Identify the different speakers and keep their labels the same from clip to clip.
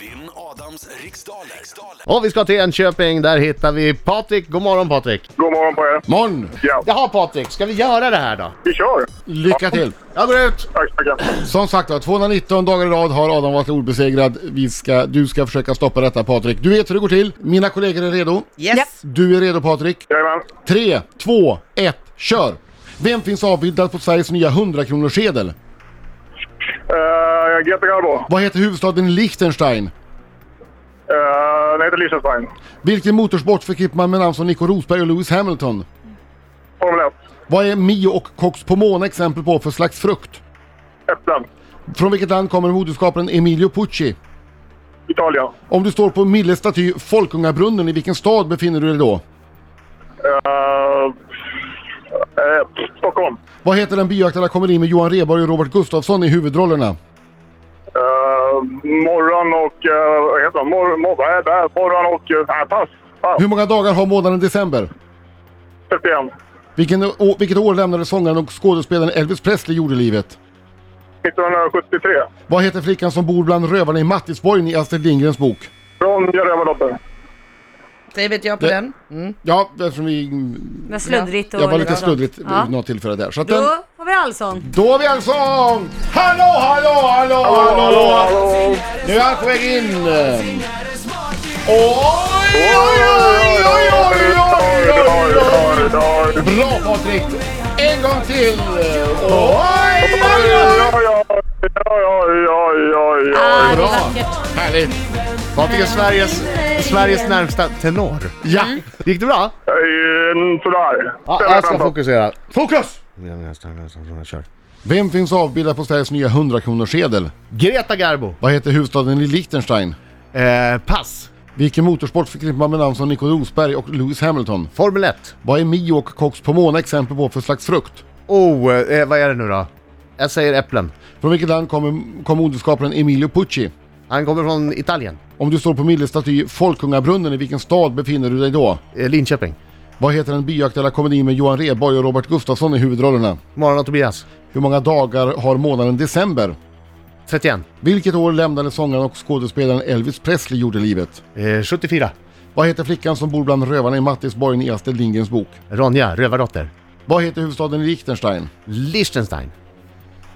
Speaker 1: Vinn Adams riksdaler. riksdaler.
Speaker 2: Och vi ska till Enköping, där hittar vi Patrik. God morgon Patrik!
Speaker 3: God morgon på er.
Speaker 4: Morgon!
Speaker 3: Ja,
Speaker 2: Jaha Patrik, ska vi göra det här då?
Speaker 3: vi kör.
Speaker 4: Lycka till!
Speaker 2: Jag går ut!
Speaker 3: Tack så mycket.
Speaker 4: Som sagt var, 219 dagar i rad har Adam varit obesegrad. Vi ska, du ska försöka stoppa detta Patrik. Du vet hur det går till. Mina kollegor är redo.
Speaker 5: Yes.
Speaker 4: Du är redo Patrik.
Speaker 3: Jajamän.
Speaker 4: 3, 2, 1, kör! Vem finns avbildad på Sveriges nya 100-kronorssedel?
Speaker 3: Uh, GT Garbo.
Speaker 4: Vad heter huvudstaden Liechtenstein?
Speaker 3: Uh, den heter Liechtenstein.
Speaker 4: Vilken motorsport förknippar man med namn som Nico Rosberg och Lewis Hamilton?
Speaker 3: Formel 1.
Speaker 4: Vad är Mio och Cox Pomona exempel på för slags frukt?
Speaker 3: Äpplen.
Speaker 4: Från vilket land kommer moderskaparen Emilio Pucci?
Speaker 3: Italien.
Speaker 4: Om du står på Milles staty Folkungabrunnen, i vilken stad befinner du dig då?
Speaker 3: Uh, uh, Stockholm.
Speaker 4: Vad heter den bioaktuella komedin med Johan Rheborg och Robert Gustafsson i huvudrollerna?
Speaker 3: Uh, morgon och... Uh, vad heter det? Mor- mor- nej, nej, morgon och... Uh, nej, pass. Pass.
Speaker 4: Hur många dagar har månaden december?
Speaker 3: 31.
Speaker 4: Vilken, å, vilket år lämnade sångaren och skådespelaren Elvis Presley jordelivet?
Speaker 3: 1973.
Speaker 4: Vad heter flickan som bor bland rövarna i Mattisborgen i Astrid Lindgrens bok?
Speaker 3: Ronja Rövardotter.
Speaker 5: Det vet jag på
Speaker 4: Det-
Speaker 5: den. Mm.
Speaker 4: Ja, eftersom vi...
Speaker 6: Det var sluddrigt och
Speaker 4: Jag var lite
Speaker 6: liksom-
Speaker 4: sluddrigt vid
Speaker 6: Ja.
Speaker 4: något tillfälle där. Så att den,
Speaker 6: Då har vi allsång.
Speaker 4: då har vi en sång! Hallå, hallå, hallå,
Speaker 6: Mm.
Speaker 4: hallå, hallå, Nu är han på väg in! Oj, oj, oj, oj, oj, oj, oj, oj! Bra Patrik! En gång till! Oj, oj, oj!
Speaker 6: Ah, det
Speaker 4: Bra.
Speaker 6: är vackert.
Speaker 4: Härligt!
Speaker 2: Patrik är Sveriges, Sveriges närmsta tenor.
Speaker 4: Ja!
Speaker 2: Gick det bra?
Speaker 3: Eh, Sådär. alltså.
Speaker 2: Ja, jag ska fokusera.
Speaker 4: Fokus!
Speaker 2: Kör.
Speaker 4: Vem finns avbildad på Sveriges nya 100-kronorssedel?
Speaker 2: Greta Garbo.
Speaker 4: Vad heter huvudstaden i Liechtenstein?
Speaker 2: Eh, pass.
Speaker 4: Vilken motorsport förknippar man med namn som Nico Rosberg och Lewis Hamilton?
Speaker 2: Formel 1.
Speaker 4: Vad är Mio och Cox Pomona exempel på för slags frukt?
Speaker 2: Oh, eh, vad är det nu då? Jag säger äpplen.
Speaker 4: Från vilket land kommer kom moderskaparen Emilio Pucci?
Speaker 2: Han kommer från Italien.
Speaker 4: Om du står på Milles staty Folkungabrunnen, i vilken stad befinner du dig då?
Speaker 2: Eh, Linköping.
Speaker 4: Vad heter den bioaktuella komedin med Johan Rheborg och Robert Gustafsson i huvudrollerna?
Speaker 2: Morgon och Tobias.
Speaker 4: Hur många dagar har månaden december?
Speaker 2: 31.
Speaker 4: Vilket år lämnade sångaren och skådespelaren Elvis Presley jordelivet?
Speaker 2: Eh, 74.
Speaker 4: Vad heter flickan som bor bland rövarna i Mattisborgen i Astrid Lindgrens bok?
Speaker 2: Ronja, Rövardotter.
Speaker 4: Vad heter huvudstaden i Liechtenstein?
Speaker 2: Liechtenstein.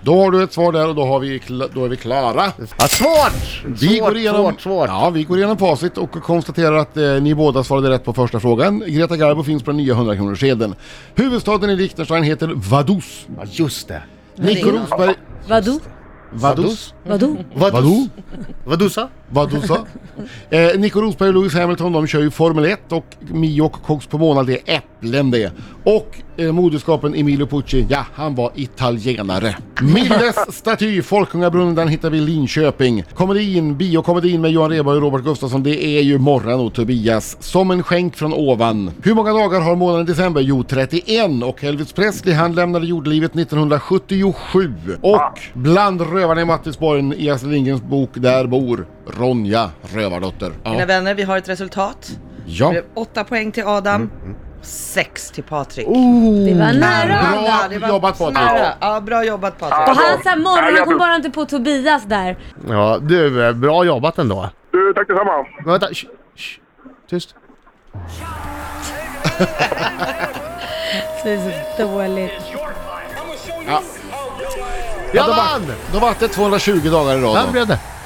Speaker 4: Då har du ett svar där och då, har vi, kla- då är vi klara.
Speaker 2: Ah, svårt!
Speaker 4: Vi
Speaker 2: svårt,
Speaker 4: går igenom,
Speaker 2: svårt, svårt.
Speaker 4: Ja, vi går igenom facit och konstaterar att eh, ni båda svarade rätt på första frågan. Greta Garbo finns på den nya 100-kronorssedeln. Huvudstaden i Liechtenstein heter Vaduz.
Speaker 2: Ja, just det.
Speaker 4: Nico Rosberg...
Speaker 6: Vadå?
Speaker 4: Vaduz?
Speaker 6: Vadå?
Speaker 2: Vadå?
Speaker 4: Vaduz?
Speaker 2: Vadå sa?
Speaker 4: Vadusa? Eh, Nico Rosberg och Lewis Hamilton de kör ju Formel 1 och Mio och Cox på månad det är äpplen det. Och eh, moderskapen Emilio Pucci, ja han var italienare. Milles staty, Folkungabrunnen, den hittar vi i Linköping. Komedin, biokomedin med Johan Rheborg och Robert Gustafsson, det är ju Morran och Tobias. Som en skänk från ovan. Hur många dagar har månaden december? Jo 31 och Elvis Presley han lämnade jordelivet 1977. Och bland rövarna i Mattisborgen i Astrid Lindgrens bok Där bor Ronja Rövardotter.
Speaker 5: Mina
Speaker 4: Ja.
Speaker 5: vänner, vi har ett resultat. Det
Speaker 4: ja.
Speaker 5: blev åtta poäng till Adam,
Speaker 4: Mm,
Speaker 5: sex till Patrik.
Speaker 6: Det var nära.
Speaker 4: Oh, Bra
Speaker 5: det var
Speaker 4: jobbat, Patrik.
Speaker 5: nära. Ja, bra jobbat Patrik.
Speaker 6: Och han sa morgon,
Speaker 3: Härliga
Speaker 6: han kom
Speaker 3: prov.
Speaker 6: bara inte på Tobias där.
Speaker 2: Ja, du, eh, bra jobbat ändå.
Speaker 3: Du, tack detsamma.
Speaker 2: Men vänta, sh, sh, tyst.
Speaker 6: Det är så dåligt.
Speaker 4: Ja.
Speaker 2: Jag
Speaker 4: då var-
Speaker 2: vann!
Speaker 4: Då var det 220 dagar i rad.
Speaker 2: Vem
Speaker 4: då.
Speaker 2: blev det?